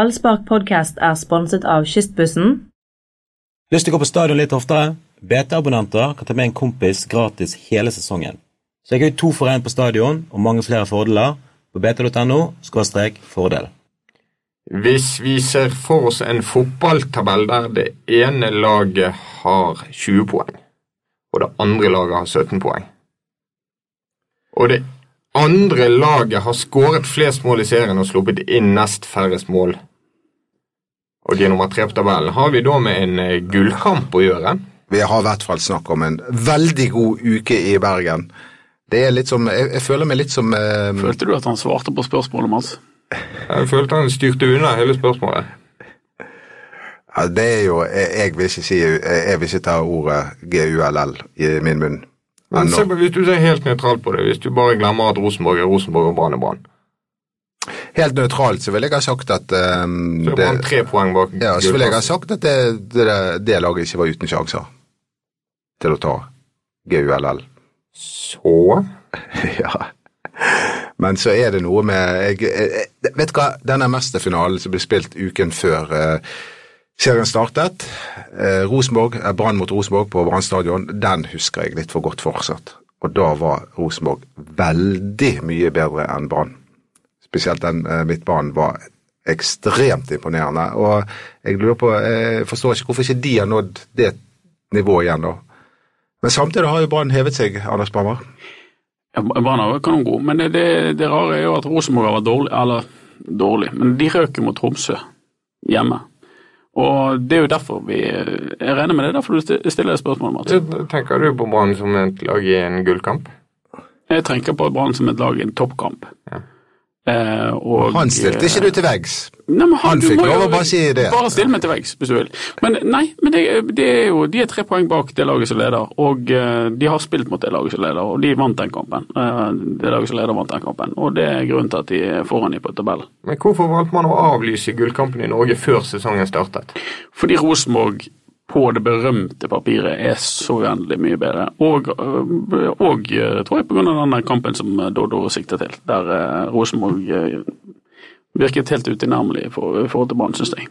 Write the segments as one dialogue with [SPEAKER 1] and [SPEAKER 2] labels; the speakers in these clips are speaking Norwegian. [SPEAKER 1] Ballspark podcast er sponset av Kystbussen.
[SPEAKER 2] Lyst til å gå på stadion litt oftere? BT-abonnenter kan ta med en kompis gratis hele sesongen. Så jeg har jo to for én på stadion, og mange flere fordeler på bt.no fordel.
[SPEAKER 3] Hvis vi ser for oss en fotballtabell der det ene laget har 20 poeng, og det andre laget har 17 poeng, og det andre laget har skåret flest mål i serien og sluppet inn nest færrest mål, og de er nummer tre på tabellen, har vi da med en eh, gullkamp å gjøre?
[SPEAKER 4] Vi har i hvert fall snakk om en veldig god uke i Bergen. Det er litt som, Jeg, jeg føler meg litt som eh,
[SPEAKER 5] Følte du at han svarte på spørsmålet, Mats?
[SPEAKER 3] Jeg følte han styrte unna hele spørsmålet.
[SPEAKER 4] ja, Det er jo Jeg, jeg vil ikke si jeg, jeg vil ikke ta ordet GULL i min munn.
[SPEAKER 3] Men se,
[SPEAKER 4] ennå.
[SPEAKER 3] på- hvis du ser helt nøytralt på det, hvis du bare glemmer at Rosenborg er Rosenborg og Brann er Brann,
[SPEAKER 4] Helt nøytralt så vil jeg ha sagt at eh,
[SPEAKER 3] så er
[SPEAKER 4] det,
[SPEAKER 3] Brann tre poeng bak
[SPEAKER 4] ja, så vil jeg ha
[SPEAKER 3] gullplassen.
[SPEAKER 4] sagt at det, det, det laget ikke var uten sjanser til å ta GULL.
[SPEAKER 3] Så
[SPEAKER 4] Ja. Men så er det noe med jeg, jeg, jeg- Vet du hva, denne mesterfinalen som ble spilt uken før eh, serien startet, eh, Rosenborg, eh, Brann mot Rosenborg på Brann stadion, den husker jeg litt for godt fortsatt. Og da var Rosenborg veldig mye bedre enn Brann. Spesielt den eh, midtbanen var ekstremt imponerende. Og jeg lurer på, eh, jeg forstår ikke hvorfor ikke de har nådd det nivået igjen, da. Men samtidig har jo Brann hevet seg, Anders Bammer.
[SPEAKER 5] Ja, Brann er jo kanongod, men det, det, det rare er jo at Rosenborg har vært dårlig, eller dårlig, men de røk jo mot Tromsø hjemme. Og det er jo derfor vi Jeg regner med det er derfor du sti- stiller det spørsmålet, Mats.
[SPEAKER 3] så tenker du på Brann som et lag i en gullkamp.
[SPEAKER 5] Jeg tenker på Brann som et lag i en toppkamp.
[SPEAKER 3] Ja.
[SPEAKER 5] Eh, og,
[SPEAKER 4] Han stilte ikke du til veggs.
[SPEAKER 5] Nei, men
[SPEAKER 4] Han
[SPEAKER 5] du
[SPEAKER 4] fikk
[SPEAKER 5] må jo-
[SPEAKER 4] lov å bare si det.
[SPEAKER 5] Bare still meg til veggs, hvis du vil. Men nei, men det, det er jo, de er tre poeng bak det laget som leder, og eh, de har spilt mot det laget som leder, og de vant den kampen. Eh, Det laget som leder vant den kampen, og det er grunnen til at de er foran i på tabellen.
[SPEAKER 3] Men hvorfor valgte man å avlyse gullkampen i Norge før sesongen startet?
[SPEAKER 5] Fordi Rosenborg på det berømte papiret er så uendelig mye bedre, og, eh, og eh, tror jeg på grunn av den der kampen som eh, Doddo sikter til, der eh, Rosenborg eh, virket helt utilnærmelig i for- i forhold til Brann, synes jeg.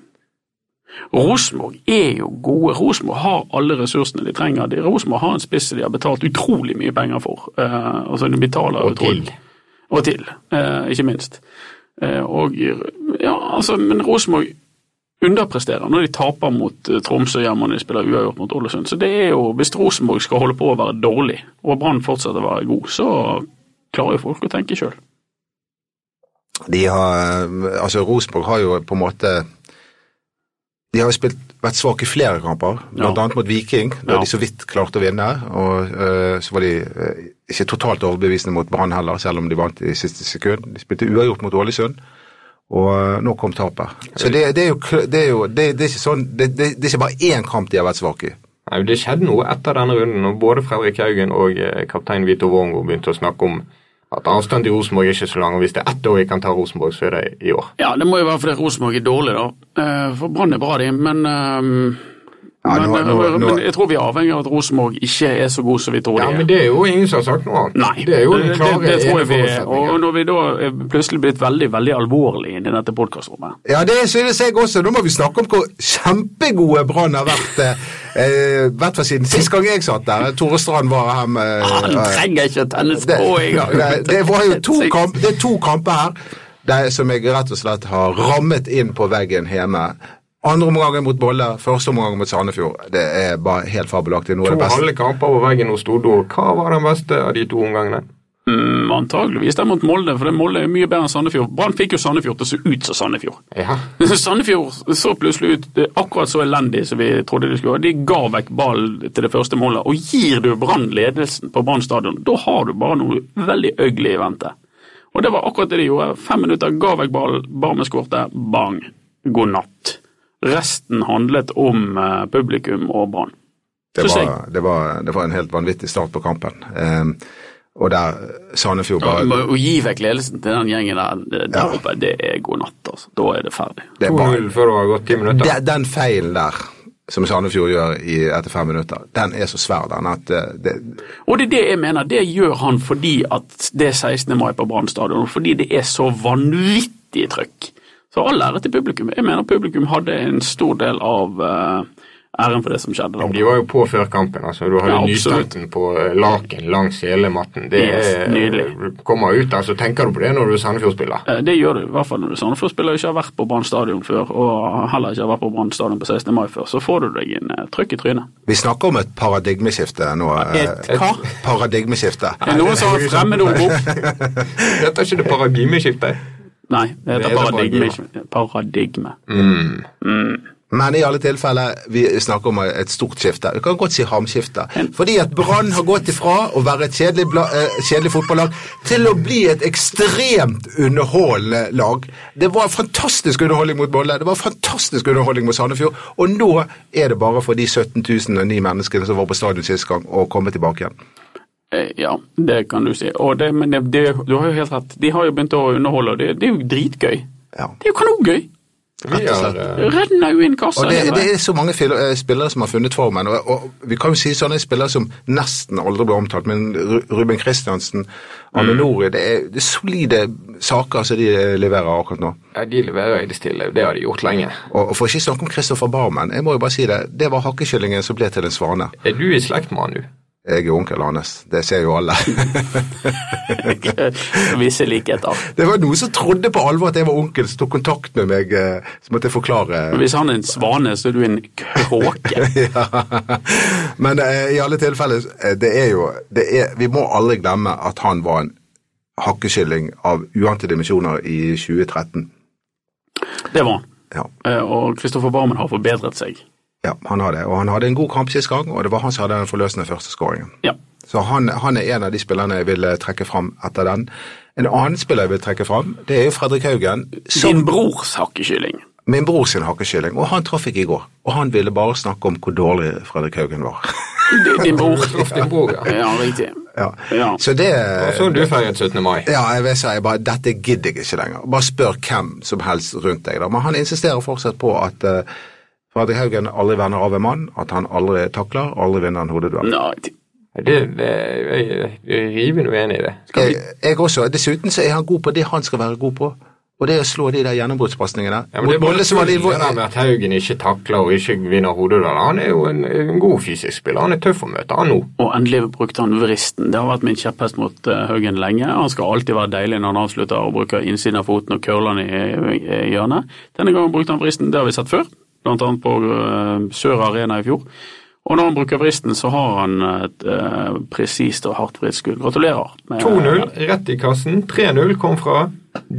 [SPEAKER 5] Rosenborg er jo gode. Rosenborg har alle ressursene de trenger. De- Rosenborg har en spiss som de har betalt utrolig mye penger for. Eh, altså de betaler
[SPEAKER 3] Og
[SPEAKER 5] utrolig-
[SPEAKER 3] til.
[SPEAKER 5] Og til, eh, ikke minst. Eh, og ja, altså, men Rosenborg underpresterer når de taper mot eh, Tromsø hjemme og de spiller uavgjort mot Ålesund. Så det er jo, hvis Rosenborg skal holde på å være dårlig, og Brann fortsetter å være god, så klarer jo folk å tenke sjøl.
[SPEAKER 4] De har, eh, altså Rosenborg har jo på en måte De har jo spilt, vært svake i flere kamper, blant
[SPEAKER 5] Ja.
[SPEAKER 4] annet mot Viking, da
[SPEAKER 5] Ja.
[SPEAKER 4] de så vidt klarte å vinne. Og eh, så var de eh, ikke totalt overbevisende mot Brann heller, selv om de vant i siste sekund. De spilte uavgjort mot Ålesund, og eh, nå kom tapet. Så det, det er jo, kl- det er jo det, det er ikke sånn, det, det, det er ikke bare én kamp de har vært svake i.
[SPEAKER 3] Nei, Det skjedde noe etter denne runden, og både Fredrik Haugen og eh, kaptein Vito Wormgo begynte å snakke om at avstanden til Rosenborg er ikke så lang, og hvis det er ett år vi kan ta Rosenborg, så er det i år.
[SPEAKER 5] Ja, det må jo være fordi Rosenborg er dårlig, da. Eh, For Brann er bra, de, men, ehm,
[SPEAKER 4] Ja,
[SPEAKER 5] men,
[SPEAKER 4] nå- nå- nå-
[SPEAKER 5] men jeg tror vi er avhengig av at Rosenborg ikke er så god som vi tror
[SPEAKER 3] Ja,
[SPEAKER 5] de er.
[SPEAKER 3] men Det er jo ingen som har sagt noe annet.
[SPEAKER 5] Nei,
[SPEAKER 3] det er jo den klare
[SPEAKER 5] det, det tror jeg vi er.
[SPEAKER 3] eneforutsetningen.
[SPEAKER 5] Og når vi da er plutselig blitt veldig veldig alvorlige inn i dette podkastrommet
[SPEAKER 4] Ja, det synes jeg også. Nå må vi snakke om hvor kjempegode Brann har vært. eh, eh, hvert fall siden sist gang jeg satt der. Tore Strand var her med
[SPEAKER 5] Ah,
[SPEAKER 4] eh,
[SPEAKER 5] Han trenger ikke å tenne
[SPEAKER 4] det,
[SPEAKER 5] strå engang!
[SPEAKER 4] det, det var jo to, kamp, det er to kamper her der som jeg rett og slett har rammet inn på veggen hjemme. Andre omgangen mot Bolle, første omgang mot Sandefjord. Det er bare helt fabelaktig. Noe av
[SPEAKER 3] To
[SPEAKER 4] det beste.
[SPEAKER 3] halve kamper på veggen hos Stordor. Hva var den beste av de to omgangene?
[SPEAKER 5] Mm, antageligvis det er mot Molde, for det Molde er mye bedre enn Sandefjord. Brann fikk jo Sandefjord til å se ut som Sandefjord.
[SPEAKER 3] Ja.
[SPEAKER 5] Sandefjord så plutselig ut det er akkurat så elendig som vi trodde de skulle. være. De ga vekk ballen til det første målet. Og gir du Brann ledelsen på Brann stadion, da har du bare noe veldig ugly i vente. Og det var akkurat det de gjorde. Fem minutter, ga vekk ballen, bar med skårte, bang, god natt. Resten handlet om eh, publikum og Brann.
[SPEAKER 4] Det
[SPEAKER 5] Synes jeg.
[SPEAKER 4] var, det, var, det var en helt vanvittig start på kampen. Ehm, og der Sandefjord
[SPEAKER 5] Ja,
[SPEAKER 4] bare
[SPEAKER 5] men Å gi vekk ledelsen til den gjengen der, der
[SPEAKER 4] Ja.
[SPEAKER 5] oppe, det er god natt, altså. Da er det ferdig.
[SPEAKER 4] det er bare
[SPEAKER 3] 2-0 før det var gått ti minutter.
[SPEAKER 4] Den, den feilen der, som Sandefjord gjør i, etter fem minutter, den er så svær, den, at eh, det,
[SPEAKER 5] Og det er det jeg mener, det gjør han fordi at det er 16. mai på Brann stadion, og fordi det er så vanvittig trøkk. Så all ære til publikum. Jeg mener publikum hadde en stor del av eh, æren for det som skjedde. da.
[SPEAKER 3] De var jo på før kampen. altså. Du hadde
[SPEAKER 5] Ja, absolutt.
[SPEAKER 3] nystanten på eh, laken langs hele matten. Det
[SPEAKER 5] Yes,
[SPEAKER 3] er,
[SPEAKER 5] nydelig.
[SPEAKER 3] du kommer ut der, så tenker du på det når du er Sandefjord-spiller.
[SPEAKER 5] Eh, Det gjør du, i hvert fall når du er sånn. Sandefjord-spiller og ikke har vært på Brann stadion før, og heller ikke har vært på Brann stadion på 16. mai før, så får du deg en eh, trøkk i trynet.
[SPEAKER 4] Vi snakker om et paradigmeskifte nå.
[SPEAKER 2] Et
[SPEAKER 4] eh,
[SPEAKER 2] hva?
[SPEAKER 4] Paradigmeskifte.
[SPEAKER 5] Er det noen som har fremmedord opp?
[SPEAKER 3] Dette er ikke det paradigmeskiftet.
[SPEAKER 5] Nei, det
[SPEAKER 3] Det
[SPEAKER 5] heter
[SPEAKER 3] heter
[SPEAKER 5] paradigme. ikke- Paradigme.
[SPEAKER 4] Men i alle tilfeller, vi snakker om et stort skifte. Vi kan godt si hamskifte. Fordi at Brann har gått ifra å være et kjedelig, bla, eh, kjedelig fotballag til å bli et ekstremt underholdende lag. Det var fantastisk underholdning mot Bolle, det var fantastisk underholdning mot Sandefjord, og nå er det bare for de 17 000 og ni menneskene som var på stadion sist gang, å komme tilbake igjen.
[SPEAKER 5] Eh, Ja, det kan du si. Og det, men det, det, du har jo helt rett. De har jo begynt å underholde, og det, det er jo dritgøy.
[SPEAKER 4] Ja.
[SPEAKER 5] Det er jo kanongøy!
[SPEAKER 3] Vi
[SPEAKER 4] Rett og
[SPEAKER 3] har,
[SPEAKER 4] slett.
[SPEAKER 3] eh,
[SPEAKER 5] Det renner jo inn kasser.
[SPEAKER 4] Og det,
[SPEAKER 5] hele veien.
[SPEAKER 4] det Sånn er så mange fil- eh, spillere som har funnet formen, og, og vi kan jo si sånne spillere som nesten aldri ble omtalt, men Ru- Ruben Kristiansen, Arne Nori, det er, det er solide saker som de eh, leverer akkurat nå.
[SPEAKER 3] Ja, de leverer i det stille. Det har de gjort lenge.
[SPEAKER 4] Og, og for ikke snakke om Kristoffer Barmen, jeg må jo bare si det, det var hakkekyllingen som ble til en svane.
[SPEAKER 3] Er du i slekt med han, du?
[SPEAKER 4] Jeg er onkel hans, det ser jo alle.
[SPEAKER 5] Visse likheter.
[SPEAKER 4] det var noen som trodde på alvor at jeg var onkel, som tok kontakt med meg, eh, så måtte jeg forklare.
[SPEAKER 5] Hvis han er en svane, så er du en kråke.
[SPEAKER 4] Ja. Men eh, i alle tilfeller, eh, det er jo det er, Vi må aldri glemme at han var en hakkeskylling av uante dimensjoner i 2013.
[SPEAKER 5] Det var han.
[SPEAKER 4] Ja,
[SPEAKER 5] Eh, Og Kristoffer Barmen har forbedret seg.
[SPEAKER 4] ja han har det. Og han hadde en god kamp sist gang, og det var han som hadde den forløsende første skåringen.
[SPEAKER 5] Ja.
[SPEAKER 4] Så han, han er en av de spillerne jeg vil eh, trekke fram etter den. En annen spiller jeg vil trekke fram, det er jo Fredrik Haugen.
[SPEAKER 5] Sin brors hakkekylling.
[SPEAKER 4] Min bror sin hakkeskylling, og han traff ikke i går. Og han ville bare snakke om hvor dårlig Fredrik Haugen var.
[SPEAKER 5] Din- Din bror.
[SPEAKER 3] Traff din bror, ja.
[SPEAKER 5] Ja, riktig.
[SPEAKER 4] ja.
[SPEAKER 5] Ja.
[SPEAKER 4] Så det
[SPEAKER 3] Sånn du feiret 17. mai.
[SPEAKER 4] Ja, jeg vil si bare, dette gidder jeg ikke lenger. Bare spør hvem som helst rundt deg. Da. Men han insisterer fortsatt på at eh, Fredrik Haugen aldri venner av en mann, at han aldri takler, aldri vinner en hodeduell.
[SPEAKER 5] Nei,
[SPEAKER 3] Det, det, jeg jeg er rivende uenig i det.
[SPEAKER 4] Jeg, jeg også. Dessuten så er han god på det han skal være god på, og det er å slå de der gjennombruddspasningene.
[SPEAKER 3] Ja, men det er
[SPEAKER 4] Mot
[SPEAKER 3] bare
[SPEAKER 4] Molde så var de-
[SPEAKER 3] tull, det der med at Haugen ikke takler og ikke vinner hodeduell. Han er jo en, en god fysisk spiller. Han er tøff å møte, han nå.
[SPEAKER 5] Og endelig brukte han vristen. Det har vært min kjepphest mot eh, Haugen lenge. Han skal alltid være deilig når han avslutter og bruker innsiden av foten og curler den i, i hjørnet. Denne gangen brukte han vristen, det har vi sett før, blant annet på eh, Sør Arena i fjor. Og når han bruker vristen, så har han et eh, presist og hardt vridd skudd. Gratulerer. med-
[SPEAKER 3] 2-0 rett i kassen. 3-0 kom fra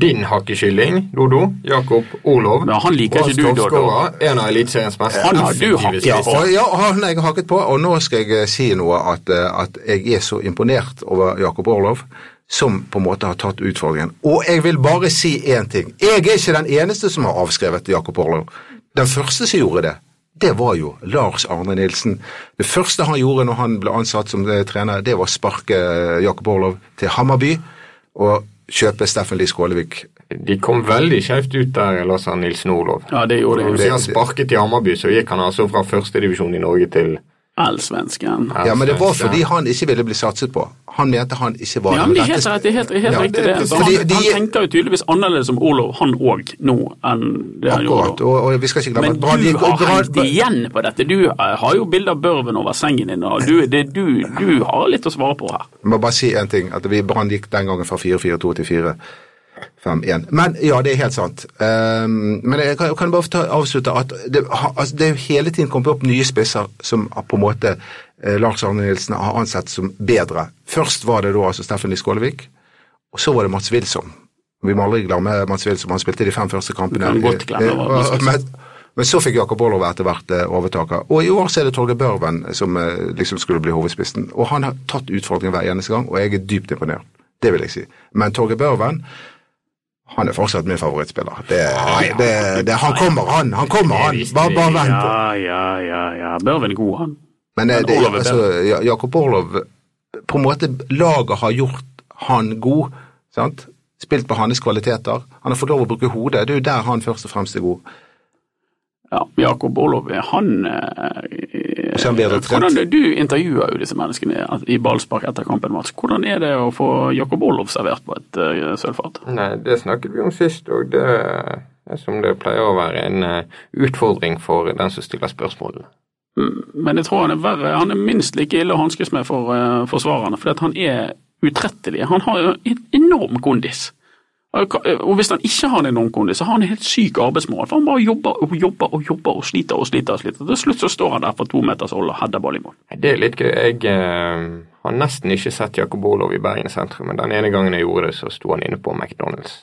[SPEAKER 3] din hakkekylling, Dodo. Jakob Olov.
[SPEAKER 5] Men han liker ikke du, Dodo.
[SPEAKER 3] Toppskårer, En av eliteseriens mest
[SPEAKER 5] Han har du hakket
[SPEAKER 3] effektive
[SPEAKER 5] på.
[SPEAKER 3] spisser.
[SPEAKER 4] Og ja, han har jeg hakket på, og nå skal jeg eh, si noe at, eh, at jeg er så imponert over Jakob Orlov, som på en måte har tatt utfordringen. Og jeg vil bare si én ting. Jeg er ikke den eneste som har avskrevet Jakob Orlov. Den første som gjorde det, det var jo Lars Arne Nilsen. Det første han gjorde når han ble ansatt som eh, trener, det var å sparke eh, Jakob Orlov til Hammarby og kjøpe Steffen Lie Skålevik.
[SPEAKER 3] De kom veldig skjevt ut der, Lars Arne Nilsen Olov.
[SPEAKER 5] Ja, det gjorde
[SPEAKER 3] Når du
[SPEAKER 5] jeg.
[SPEAKER 3] sier sparket i Hammarby, så gikk han altså fra førstedivisjon i Norge til
[SPEAKER 5] Allsvensken.
[SPEAKER 4] Ja, men det var
[SPEAKER 3] Allsvenskan.
[SPEAKER 4] fordi han ikke ville bli satset på. Han mente han ikke var
[SPEAKER 5] Ja,
[SPEAKER 4] den
[SPEAKER 5] men det er
[SPEAKER 4] rette
[SPEAKER 5] helt, rett, det er helt, helt
[SPEAKER 4] Ja,
[SPEAKER 5] riktig, det.
[SPEAKER 4] det- det-
[SPEAKER 5] Så han,
[SPEAKER 4] fordi de-
[SPEAKER 5] han tenker jo tydeligvis annerledes om Olav, han òg, nå enn det han gjorde.
[SPEAKER 4] Akkurat,
[SPEAKER 5] da.
[SPEAKER 4] og, og vi skal ikke glemme
[SPEAKER 5] Men
[SPEAKER 4] at Brann
[SPEAKER 5] du
[SPEAKER 4] gikk og
[SPEAKER 5] har
[SPEAKER 4] Brann-
[SPEAKER 5] hengt igjen på dette. Du eh, har jo bilde av børven over sengen din, og du, det, du, du har litt å svare på her.
[SPEAKER 4] Jeg må bare si en ting, at vi Brann gikk den gangen fra 4-4-2 til 4-5-1. Men ja, det er helt sant. Ehm, men jeg kan, jeg kan bare ta, avslutte at det, ha- altså, det er jo hele tiden kommet opp nye spisser som har på en måte eh, Lars Arne Nilsen har ansett som bedre. Først var det da altså Steffen Lie Skålevik, og så var det Mats Wilsom. Vi må aldri glemme Mats Wilsom, han spilte de fem første kampene.
[SPEAKER 5] Du kan godt glemme
[SPEAKER 4] Eh,
[SPEAKER 5] Mats Wilsom.
[SPEAKER 4] men, men så fikk Jakob Orlov etter hvert eh, overtaket. Og i år så er det Torgeir Børven som eh, liksom skulle bli hovedspissen. Og han har tatt utfordringen hver eneste gang, og jeg er dypt imponert. Det vil jeg si. Men Torgeir Børven han er fortsatt min favorittspiller. Det, det, det, han kommer, han! Han kommer, han! Bare, bare vent.
[SPEAKER 5] Ja, ja, ja. ja. Børven er god, han.
[SPEAKER 4] Men eh,
[SPEAKER 5] Men
[SPEAKER 4] det,
[SPEAKER 5] Orlov er
[SPEAKER 4] altså, Ja- Jakob Orlov På en måte laget har gjort han god. sant? Spilt på hans kvaliteter. Han har fått lov å bruke hodet. Det er jo der han først og fremst er god.
[SPEAKER 5] Ja, Jakob Olav, han eh,
[SPEAKER 4] Og så er han bedre trent.
[SPEAKER 5] hvordan, Du intervjuer jo disse menneskene i ballspark etter kampen, Mats. Hvordan er det å få Jakob Olav servert på et uh, sølvfat?
[SPEAKER 3] Nei, det snakket vi om sist, og det, Som det pleier å være en eh, utfordring for den som stiller spørsmålene.
[SPEAKER 5] Men jeg tror han er verre. Han er minst like ille å hanskes med for eh, forsvarerne, fordi at han er utrettelig. Han har jo en enorm kondis. Og ka- eh, Og hvis han ikke har en enorm kondis, så har han en helt syk arbeidsmoral. For han bare jobber og jobber og jobber og sliter og sliter. og sliter. Til slutt så står han der på to meters hold og header ball i mål.
[SPEAKER 3] Nei, Det er litt gøy. Jeg eh, har nesten ikke sett Jakob Olov i Bergen sentrum, men den ene gangen jeg gjorde det, så sto han inne på McDonald's.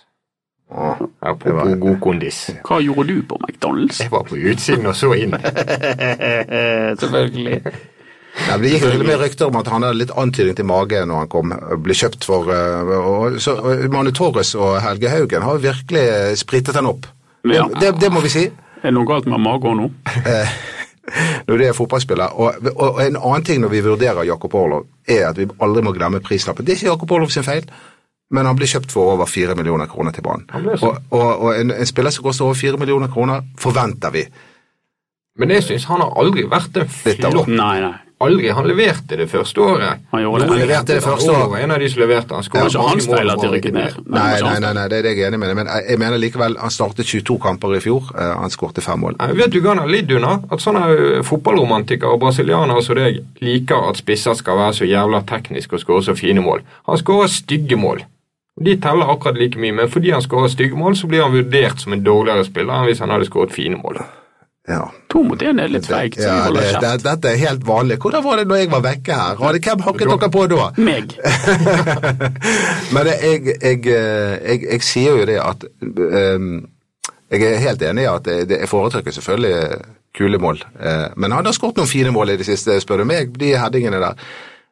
[SPEAKER 4] det var-
[SPEAKER 3] Apropos god kondis.
[SPEAKER 5] Hva gjorde du på McDonald's?
[SPEAKER 3] Jeg var på utsiden og så inn. Selvfølgelig.
[SPEAKER 4] Ja, men det gikk til og med rykter om at han hadde litt antydning til mage når han kom, ble kjøpt for eh, og, så, og Manu Torres og Helge Haugen har virkelig eh, spritet han opp.
[SPEAKER 5] Ja.
[SPEAKER 4] Det, det, det må vi si.
[SPEAKER 5] Er det noe galt med magen nå?
[SPEAKER 4] når det er fotballspiller. Og, og, og en annen ting når vi vurderer Jakob Orlov, er at vi aldri må glemme prislappen. Det er ikke Jakob Orlov sin feil, men han ble kjøpt for over 4 millioner kroner til banen.
[SPEAKER 3] ble
[SPEAKER 4] Og, og, og en, en spiller som koster over 4 millioner kroner, forventer vi.
[SPEAKER 3] Men jeg syns han har aldri vært en
[SPEAKER 4] Litt av-
[SPEAKER 3] flopp.
[SPEAKER 5] Nei, nei.
[SPEAKER 3] Aldri. Han leverte det første året.
[SPEAKER 5] Han gjorde det.
[SPEAKER 3] Noen
[SPEAKER 5] Han
[SPEAKER 4] leverte det første
[SPEAKER 3] Han
[SPEAKER 4] året.
[SPEAKER 3] var En av de som leverte. Han skåret
[SPEAKER 5] Det var ikke hans feil at de rykket
[SPEAKER 4] Nei,
[SPEAKER 5] ned. det var
[SPEAKER 4] nei,
[SPEAKER 5] ikke
[SPEAKER 4] nei,
[SPEAKER 5] hans.
[SPEAKER 4] nei, det er det jeg er enig med. deg, Men jeg, jeg mener likevel, han startet 22 kamper i fjor, eh, han skårte fem mål.
[SPEAKER 3] Jeg vet du hva han har lidd under? At sånne ø, fotballromantikere og brasilianere som deg liker at spisser skal være så jævla teknisk og skåre så fine mål. Han skårer stygge mål. De teller akkurat like mye, men fordi han skårer stygge mål, så blir han vurdert som en dårligere spiller enn hvis han hadde skåret fine mål.
[SPEAKER 4] Ja.
[SPEAKER 5] To mot én er litt feigt. så vi
[SPEAKER 4] Ja,
[SPEAKER 5] holder
[SPEAKER 4] det, det,
[SPEAKER 5] kjeft.
[SPEAKER 4] dette er helt vanlig. Hvordan var det når jeg var vekke her? Hadde, hvem hakket dere på da?
[SPEAKER 5] Meg.
[SPEAKER 4] Men det, jeg, jeg, eh, jeg, jeg sier jo det at ehm, Jeg er helt enig i at det, det jeg foretrekker selvfølgelig kule mål. eh, men han har skåret noen fine mål i det siste, spør du meg, de headingene der.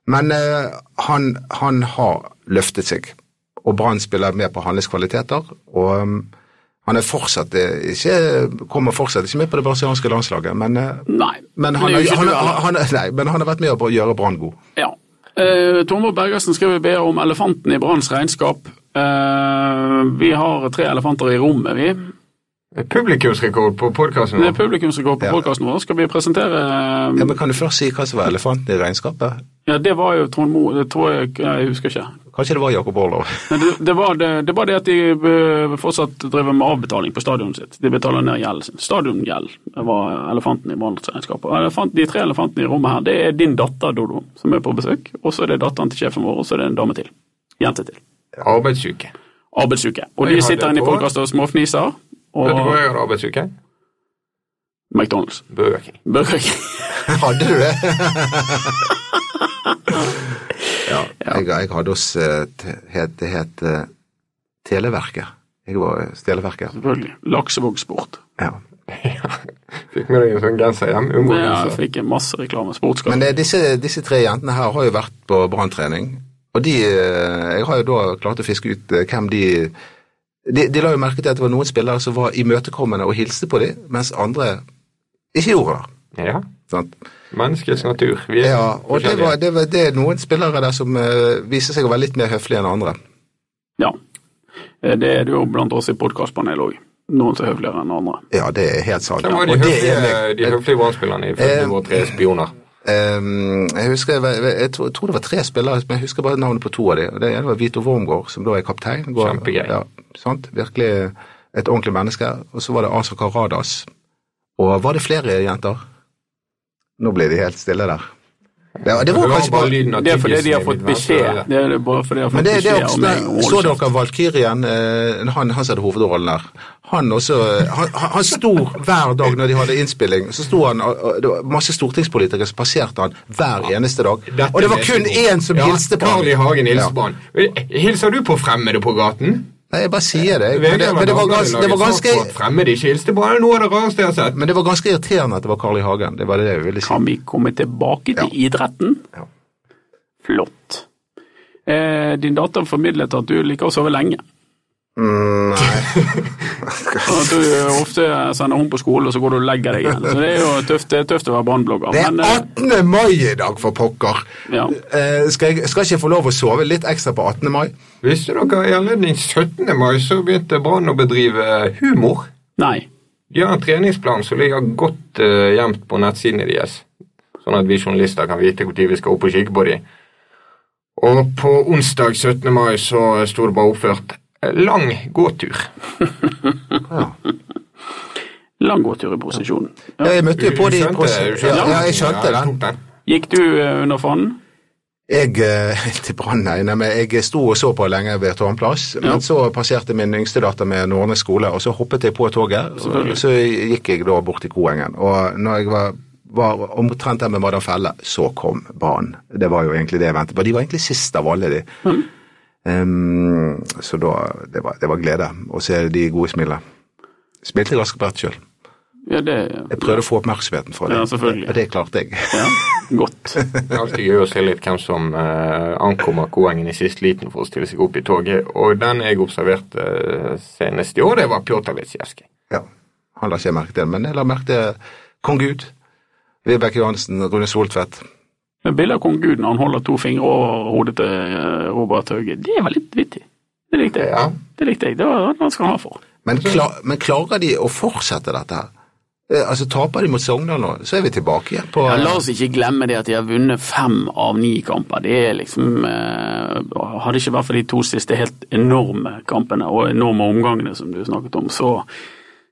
[SPEAKER 4] Men eh, han, han har løftet seg, og Brann spiller med på hans kvaliteter. Og ehm, han er fortsatt eh, ikke, kommer fortsatt ikke med på det brasilianske landslaget, men, eh,
[SPEAKER 5] Nei.
[SPEAKER 4] men,
[SPEAKER 5] det
[SPEAKER 4] han,
[SPEAKER 5] er jo
[SPEAKER 4] har-
[SPEAKER 5] ikke
[SPEAKER 4] han,
[SPEAKER 5] du heller.
[SPEAKER 4] har- han, har- nei, men han har vært med på å gjøre Brann god.
[SPEAKER 5] Ja. Eh, Tormod Bergersen skriver i BA om elefanten i Branns regnskap. Eh, vi har tre elefanter i rommet, vi.
[SPEAKER 3] Eh, Publikumsrekord på podkasten.
[SPEAKER 5] Det er publikumsrekord på
[SPEAKER 4] Ja.
[SPEAKER 5] podkasten vår. Skal vi presentere eh,
[SPEAKER 4] Ja, men Kan du først si hva som var elefanten i regnskapet?
[SPEAKER 5] Ja, det var jo Trond Moe Det tror jeg Nei, Jeg husker ikke.
[SPEAKER 4] Kanskje det var Jakob Orlov?
[SPEAKER 5] Men det, det, var det, det var det at de eh, fortsatt driver med avbetaling på stadionet sitt. De betaler ned gjelden sin. Stadiongjeld var elefanten i Branns regnskap. Og elefant, de tre elefantene i rommet her, det er din datter, Dodo, som er på besøk. Og så er det datteren til sjefen vår, og så er det en dame til. Jente til.
[SPEAKER 3] Arbeidsuke.
[SPEAKER 5] arbeidsuke. Og
[SPEAKER 3] Jeg
[SPEAKER 5] de
[SPEAKER 3] har
[SPEAKER 5] sitter
[SPEAKER 3] det
[SPEAKER 5] inne i
[SPEAKER 3] på.
[SPEAKER 5] podkast og småfniser.
[SPEAKER 3] Vet du hvor
[SPEAKER 5] Og
[SPEAKER 3] jeg hadde arbeidsuke?
[SPEAKER 5] McDonald's.
[SPEAKER 3] Burger King.
[SPEAKER 5] Burger King.
[SPEAKER 4] Hadde du det? ja, Jeg, jeg hadde oss eh, te- het, Det het eh, Televerket. Jeg var hos Televerket.
[SPEAKER 5] Selvfølgelig. Laksevåg Sport.
[SPEAKER 4] Ja.
[SPEAKER 3] Fikk med deg en sånn genser hjem.
[SPEAKER 5] Men Jeg
[SPEAKER 3] Umbro-genser.
[SPEAKER 5] fikk en masse reklame.
[SPEAKER 4] Men
[SPEAKER 5] Sportskap.
[SPEAKER 4] eh, disse, disse tre jentene her har jo vært på branntrening, og de eh, Jeg har jo da klart å fiske ut eh, hvem de de, de la jo merke til at det var noen spillere som var imøtekommende og hilste på dem, mens andre ikke gjorde det.
[SPEAKER 3] Ja.
[SPEAKER 4] Sant?
[SPEAKER 3] Menneskets natur. Vi er
[SPEAKER 4] Ja, og det,
[SPEAKER 3] forskjellige.
[SPEAKER 4] var, det, var, det er noen spillere der som eh, viser seg å være litt mer høflige enn andre.
[SPEAKER 5] Ja. Eh, Det er det jo blant oss i podkastpanelet òg. Noen som er høfligere enn andre.
[SPEAKER 4] Ja, det er helt sant.
[SPEAKER 3] Hvem var de
[SPEAKER 4] Og det er Eh,
[SPEAKER 3] høflige, eh?
[SPEAKER 4] meg.
[SPEAKER 3] de høflige Brann-spillerne i 53 spioner?
[SPEAKER 4] Ehm, jeg husker, jeg, jeg, jeg, tror, jeg tror det var tre spillere, men jeg husker bare navnet på to av dem. Det ene var Vito Wormgård, som da er kaptein. Går-
[SPEAKER 3] Kjempegøy.
[SPEAKER 4] Ja, sant? Virkelig et ordentlig menneske. Og så var det Asa Karadas. Og var det flere jenter? Nå ble de helt stille der. Det, det var
[SPEAKER 3] Hører
[SPEAKER 4] kanskje
[SPEAKER 3] bare
[SPEAKER 4] bare
[SPEAKER 3] lyden av
[SPEAKER 5] Det er fordi
[SPEAKER 3] tyggisen
[SPEAKER 5] de har
[SPEAKER 3] i
[SPEAKER 5] fått
[SPEAKER 3] mitt venstre
[SPEAKER 5] beskjed.
[SPEAKER 3] øre.
[SPEAKER 5] Det er det bare fordi de har
[SPEAKER 4] men
[SPEAKER 5] fått
[SPEAKER 4] det, det er
[SPEAKER 5] beskjed
[SPEAKER 4] også,
[SPEAKER 5] om meg. å
[SPEAKER 4] Så
[SPEAKER 5] holde kjeft.
[SPEAKER 4] dere Valkyrien, eh, han han som hadde hovedrollen der? Han også eh, Han, han han sto hver dag når de hadde innspilling, så sto han og- og Det var masse stortingspolitikere som passerte han hver eneste dag.
[SPEAKER 3] Dette
[SPEAKER 4] Og det var
[SPEAKER 3] vet
[SPEAKER 4] kun
[SPEAKER 3] du.
[SPEAKER 4] én som
[SPEAKER 3] ja,
[SPEAKER 4] hilste på
[SPEAKER 3] Carl I. Hagen hilste på
[SPEAKER 4] Ja.
[SPEAKER 3] han. Hilser du på fremmede på gaten?
[SPEAKER 4] Nei, jeg bare sier det. jeg.
[SPEAKER 3] VG
[SPEAKER 4] Men det,
[SPEAKER 3] eller
[SPEAKER 4] men det, var,
[SPEAKER 3] Dagbladet
[SPEAKER 4] gans, det,
[SPEAKER 3] laget
[SPEAKER 4] var,
[SPEAKER 3] sak
[SPEAKER 4] ganske,
[SPEAKER 3] på at Fremmede ikke hilste på han. Det er noe av det rareste jeg har sett.
[SPEAKER 4] men det var ganske irriterende at det var Carl I. Hagen. Det var det jeg ville si.
[SPEAKER 5] Kan vi komme tilbake til idretten?
[SPEAKER 4] Ja.
[SPEAKER 5] Flott. Eh, din datter formidlet at du liker å sove lenge.
[SPEAKER 4] Mm, nei.
[SPEAKER 5] Sånn at du eh, ofte sender hun på skolen, og så går du og legger deg igjen. Så det er jo tøft, det er tøft å være brannblogger.
[SPEAKER 4] Det er
[SPEAKER 5] Men, eh,
[SPEAKER 4] 18. mai i dag, for pokker!
[SPEAKER 5] ja.
[SPEAKER 4] Eh, skal, jeg, skal ikke jeg få lov å sove litt ekstra på 18. mai?
[SPEAKER 3] Visste dere i anledning 17. mai så begynte Brann å bedrive humor?
[SPEAKER 5] Nei.
[SPEAKER 3] De har en treningsplan som ligger godt eh, gjemt på nettsidene deres, sånn at vi journalister kan vite når vi skal opp og kikke på dem. Og på onsdag 17. mai så sto det bare oppført lang gåtur.
[SPEAKER 4] Ja.
[SPEAKER 5] Lang gåtur i posisjonen.
[SPEAKER 4] Ja, jeg møtte jo på de på, ja, ja, jeg skjønte
[SPEAKER 3] jeg
[SPEAKER 4] den.
[SPEAKER 3] tok den.
[SPEAKER 5] Gikk du eh, under fanen?
[SPEAKER 4] Jeg eh, til brann, nei, nei, men jeg sto og så på lenge ved Tårnplass,
[SPEAKER 5] Ja.
[SPEAKER 4] men så passerte min yngste datter med Nordnes skole, og så hoppet jeg på toget, og så gikk jeg da bort til Koengen. Og når jeg var, var omtrent der med Madam Felle, så kom banen. Det var jo egentlig det jeg ventet på. De var egentlig sist av alle, de. Ehm, så da, det var, det var glede å se de gode smilene. Spilte jeg Askepott sjøl.
[SPEAKER 5] Ja, det
[SPEAKER 4] Jeg prøvde å få oppmerksomheten fra
[SPEAKER 5] Ja,
[SPEAKER 4] dem,
[SPEAKER 5] selvfølgelig.
[SPEAKER 4] og det klarte jeg.
[SPEAKER 5] ja, Godt.
[SPEAKER 3] Det er alltid gøy å se litt hvem som eh, ankommer Koengen i siste liten for å stille seg opp i toget. Og den jeg observerte eh, senest i år, det var Pjotr Litsjevskij.
[SPEAKER 4] Ja, han la ikke jeg merke til, men jeg la merke til kong Gud, Vibeke Johansen, Rune Soltvedt.
[SPEAKER 5] Men Bildet av kong Gud når han holder to fingre over hodet til eh, Robert Hauge, det var litt vittig. Det likte jeg.
[SPEAKER 3] Ja.
[SPEAKER 5] Det likte jeg. Det var han skal han ha for.
[SPEAKER 4] Men, kla- men klarer de å fortsette dette her? Eh, Altså, taper de mot Sogndal nå, så er vi tilbake igjen på
[SPEAKER 5] Ja, la oss ikke glemme det at de har vunnet fem av ni kamper. Det er liksom eh, Hadde ikke vært for de to siste helt enorme kampene og enorme omgangene som du snakket om, så,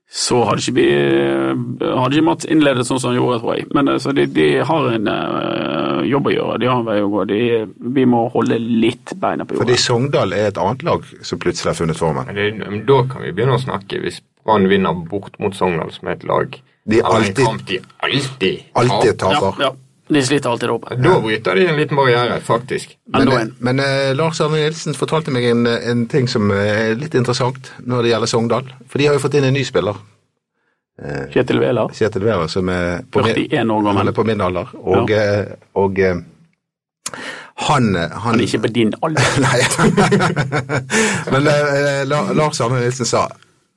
[SPEAKER 5] så hadde ikke vi Hadde ikke Mats innledet sånn som han gjorde, tror jeg. Men eh, så de, de har en eh, jobb å gjøre. De har en vei å gå. De, vi må holde litt beina på
[SPEAKER 4] Fordi
[SPEAKER 5] jorda.
[SPEAKER 4] Sogndal er et annet lag som plutselig har funnet formen.
[SPEAKER 3] Men det, men da kan vi begynne å snakke, hvis Brann vinner bort mot Sogndal, som er et lag
[SPEAKER 4] De er
[SPEAKER 3] eller en
[SPEAKER 4] alltid-
[SPEAKER 3] kamp de alltid
[SPEAKER 4] Alltid
[SPEAKER 3] taper.
[SPEAKER 5] Ja,
[SPEAKER 4] taper.
[SPEAKER 5] ja. De sliter alltid der oppe.
[SPEAKER 3] Da bryter de en liten barriere, faktisk.
[SPEAKER 5] Men
[SPEAKER 4] Men,
[SPEAKER 5] da
[SPEAKER 4] eh,
[SPEAKER 5] en.
[SPEAKER 4] men eh, Lars Arne Nilsen fortalte meg en, en ting som er litt interessant når det gjelder Sogndal. For de har jo fått inn en ny spiller,
[SPEAKER 5] Kjetil Wæler,
[SPEAKER 4] Kjetil Wæhler, som er på min-
[SPEAKER 5] 41 år
[SPEAKER 4] Han er
[SPEAKER 5] gammel.
[SPEAKER 4] på min alder, og, eh, og eh, han, eh, han
[SPEAKER 5] Han er ikke på din alder.
[SPEAKER 4] Nei. Men eh, La- Lars Arne Nilsen sa,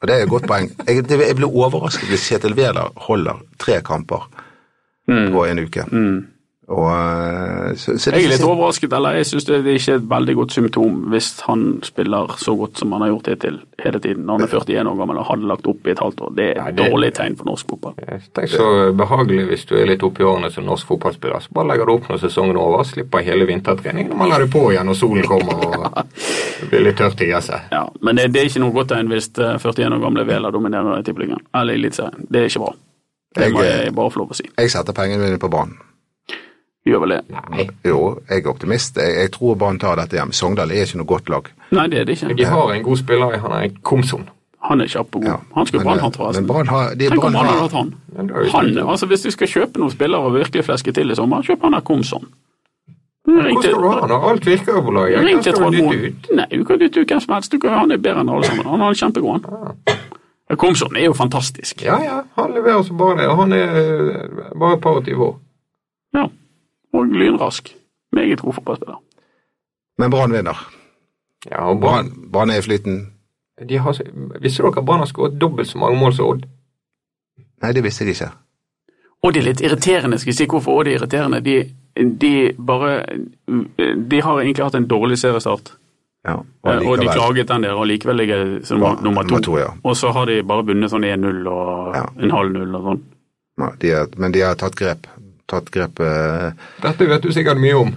[SPEAKER 4] og det er et godt poeng Jeg, det, jeg ble overrasket hvis Kjetil Wæler holder tre kamper på en uke. Og, eh, så, så det,
[SPEAKER 5] Mm. Jeg er litt overrasket, eller jeg syns det det er ikke et veldig godt symptom hvis han spiller så godt som han har gjort hittil hele tiden når han er 41 år gammel og hadde lagt opp i et halvt år. Det er et
[SPEAKER 3] det-
[SPEAKER 5] dårlig tegn for norsk fotball.
[SPEAKER 3] Tenk så behagelig hvis du er litt oppi årene som norsk fotballspiller. Så bare legger du opp når sesongen er over, slipper hele vintertreningen og man lar det på igjen når solen kommer og det blir litt tørt i gresset.
[SPEAKER 5] Ja, men det, det er ikke noe godt tegn hvis eh, 41 år gamle Vela dominerer i Tippeligaen eller i Eliteserien. Det er ikke bra. Det
[SPEAKER 4] Jeg,
[SPEAKER 5] må
[SPEAKER 4] eh,
[SPEAKER 5] jeg bare få lov å si.
[SPEAKER 4] jeg setter pengene mine på Brann.
[SPEAKER 5] Gjør vel det.
[SPEAKER 3] Nei,
[SPEAKER 4] Jo, jeg er optimist. Jeg, jeg tror Brann tar dette hjem. Sogndal er ikke noe godt lag.
[SPEAKER 5] Nei, det er det ikke.
[SPEAKER 3] de har en god spiller i han er Komson.
[SPEAKER 5] Han er kjapp og
[SPEAKER 4] Ja.
[SPEAKER 5] god. Han skulle
[SPEAKER 4] Men, eh,
[SPEAKER 5] Brann hatt,
[SPEAKER 4] Men
[SPEAKER 5] forresten.
[SPEAKER 4] Brann har, de,
[SPEAKER 5] Tenk om
[SPEAKER 4] Brann
[SPEAKER 5] han hadde
[SPEAKER 4] har
[SPEAKER 5] hatt han.
[SPEAKER 3] Men det er jo ikke-
[SPEAKER 5] han altså, hvis du skal kjøpe noen spillere og virkelig fleske til i sommer, kjøp han der Komson.
[SPEAKER 3] Hvordan
[SPEAKER 5] Ring
[SPEAKER 3] skal du
[SPEAKER 5] til-
[SPEAKER 3] ha han når alt virker jo på laget?
[SPEAKER 5] Ring
[SPEAKER 3] Hvem
[SPEAKER 5] til
[SPEAKER 3] skal
[SPEAKER 5] Trond
[SPEAKER 3] du dytte
[SPEAKER 5] Moen.
[SPEAKER 3] ut?
[SPEAKER 5] Nei, du kan dytte ut hvem som helst. Du kan, han er bedre enn alle sammen. Han er kjempegod, han. Ja, Komson er jo fantastisk.
[SPEAKER 3] Ja, ja, han leverer så bare det. og Han er eh, bare et par og tyve år.
[SPEAKER 5] Ja. Og lynrask. Meget god fotballspiller.
[SPEAKER 4] Men Brann vinner.
[SPEAKER 3] Ja, og Brann
[SPEAKER 4] Brann Brann er i flyten.
[SPEAKER 3] de har, så- Visste dere at Brann har skåret dobbelt så mange mål som Odd?
[SPEAKER 4] Nei, det visste de ikke.
[SPEAKER 5] Og det er litt irriterende, skal jeg si hvorfor og det er irriterende. De, de bare De har egentlig hatt en dårlig seriestart,
[SPEAKER 3] Eh,
[SPEAKER 5] Eh,
[SPEAKER 4] Ja,
[SPEAKER 5] og, de
[SPEAKER 4] likevel.
[SPEAKER 5] klaget den der, og likevel ligger de som
[SPEAKER 4] Ja,
[SPEAKER 5] nummer to.
[SPEAKER 4] nummer to, ja.
[SPEAKER 5] Og så har de bare vunnet sånn 1-0 og
[SPEAKER 4] Ja.
[SPEAKER 5] en halv null og sånn.
[SPEAKER 4] Ja, de er, men de har tatt grep. Tatt grep eh,
[SPEAKER 3] Dette vet du sikkert mye om.